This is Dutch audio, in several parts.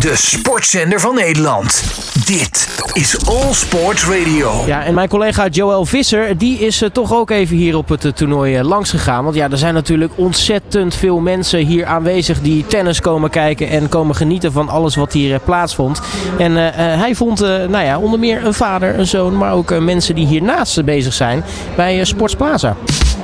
de sportzender van Nederland. Dit is All Sports Radio. Ja, en mijn collega Joël Visser, die is eh, toch ook even hier op het eh, toernooi eh, langs gegaan. Want ja, er zijn natuurlijk ontzettend veel mensen hier aanwezig die tennis komen kijken en komen genieten van alles wat hier eh, plaatsvond. En eh, eh, hij vond eh, nou ja, onder meer een vader, een zoon, maar ook eh, mensen die hiernaast eh, bezig zijn bij eh, Sports Plaza.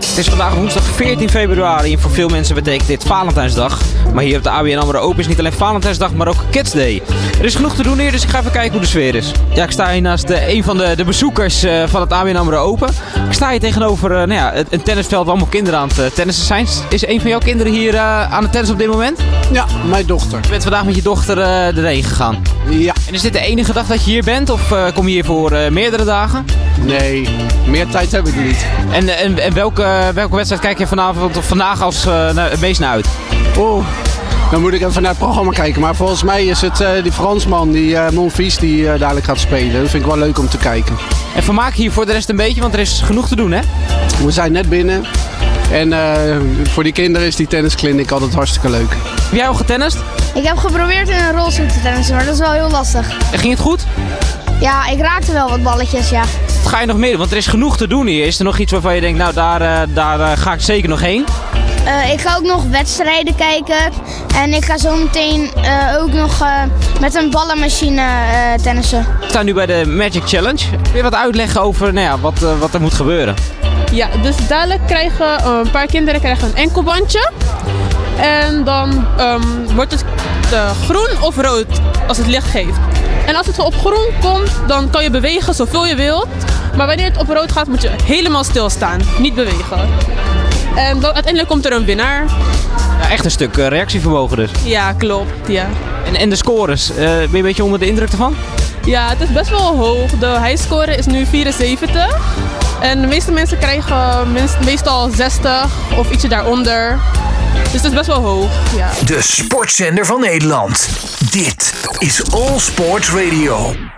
Het is vandaag woensdag 14 februari en voor veel mensen betekent dit Valentijnsdag. Maar hier op de ABN AMRO Open is niet alleen Valentijnsdag, maar ook Kids Day. Er is genoeg te doen hier, dus ik ga even kijken hoe de sfeer is. Ja, ik sta hier naast eh, een van de, de bezoekers eh, van het ABN AMRO Open. Ik sta hier tegenover eh, nou ja, het- een tennisveld waar allemaal kinderen aan het eh, tennissen zijn. Is een van jouw kinderen hier eh, aan het tennis op dit moment? Ja, mijn dochter. Je bent vandaag met je dochter eh erheen gegaan. Ja. En is dit de enige dag dat je hier bent of eh, kom je hier voor eh, meerdere dagen? Nee, meer tijd heb ik niet. En, eh, en, en welke, welke wedstrijd kijk je vanavond of vandaag als eh, nou, het meest naar uit? Oeh. Dan moet ik even naar het programma kijken. Maar volgens mij is het eh, die Fransman, die eh Monfils, die eh, dadelijk gaat spelen. Dat vind ik wel leuk om te kijken. En vermaak je hier voor de rest een beetje, want er is genoeg te doen, hè? We zijn net binnen. En eh, voor die kinderen is die tenniskliniek altijd hartstikke leuk. Heb jij al getennist? Ik heb geprobeerd in een rolstoel te tennissen, maar dat is wel heel lastig. En ging het goed? Ja, ik raakte wel wat balletjes, ja. Wat ga je nog meer doen? Want er is genoeg te doen hier. Is er nog iets waarvan je denkt, nou, daar, eh, daar eh, ga ik zeker nog heen? Eh, ik ga ook nog wedstrijden kijken. En ik ga zo meteen eh, ook nog eh, met een ballenmachine eh, tennissen. We staan nu bij de Magic Challenge. Wil je wat uitleggen over nou ja, wat, eh, wat er moet gebeuren? Ja, dus dadelijk krijgen eh, een paar kinderen krijgen een enkelbandje. En dan ehm, wordt het eh, groen of rood als het licht geeft. En als het op groen komt, dan kan je bewegen zoveel je wilt. Maar wanneer het op rood gaat, moet je helemaal stilstaan. Niet bewegen. En dan uiteindelijk komt er een winnaar. Ja, echt een stuk eh, reactievermogen dus. Ja, klopt. Ja. En, en de scores, eh, ben je een beetje onder de indruk ervan? ja, het is best wel hoog. De highscore is nu 74. En de meeste mensen krijgen minst- meestal 60 of ietsje daaronder. Dus het is best wel hoog. Ja. De sportzender van Nederland. Dit is All Sports Radio.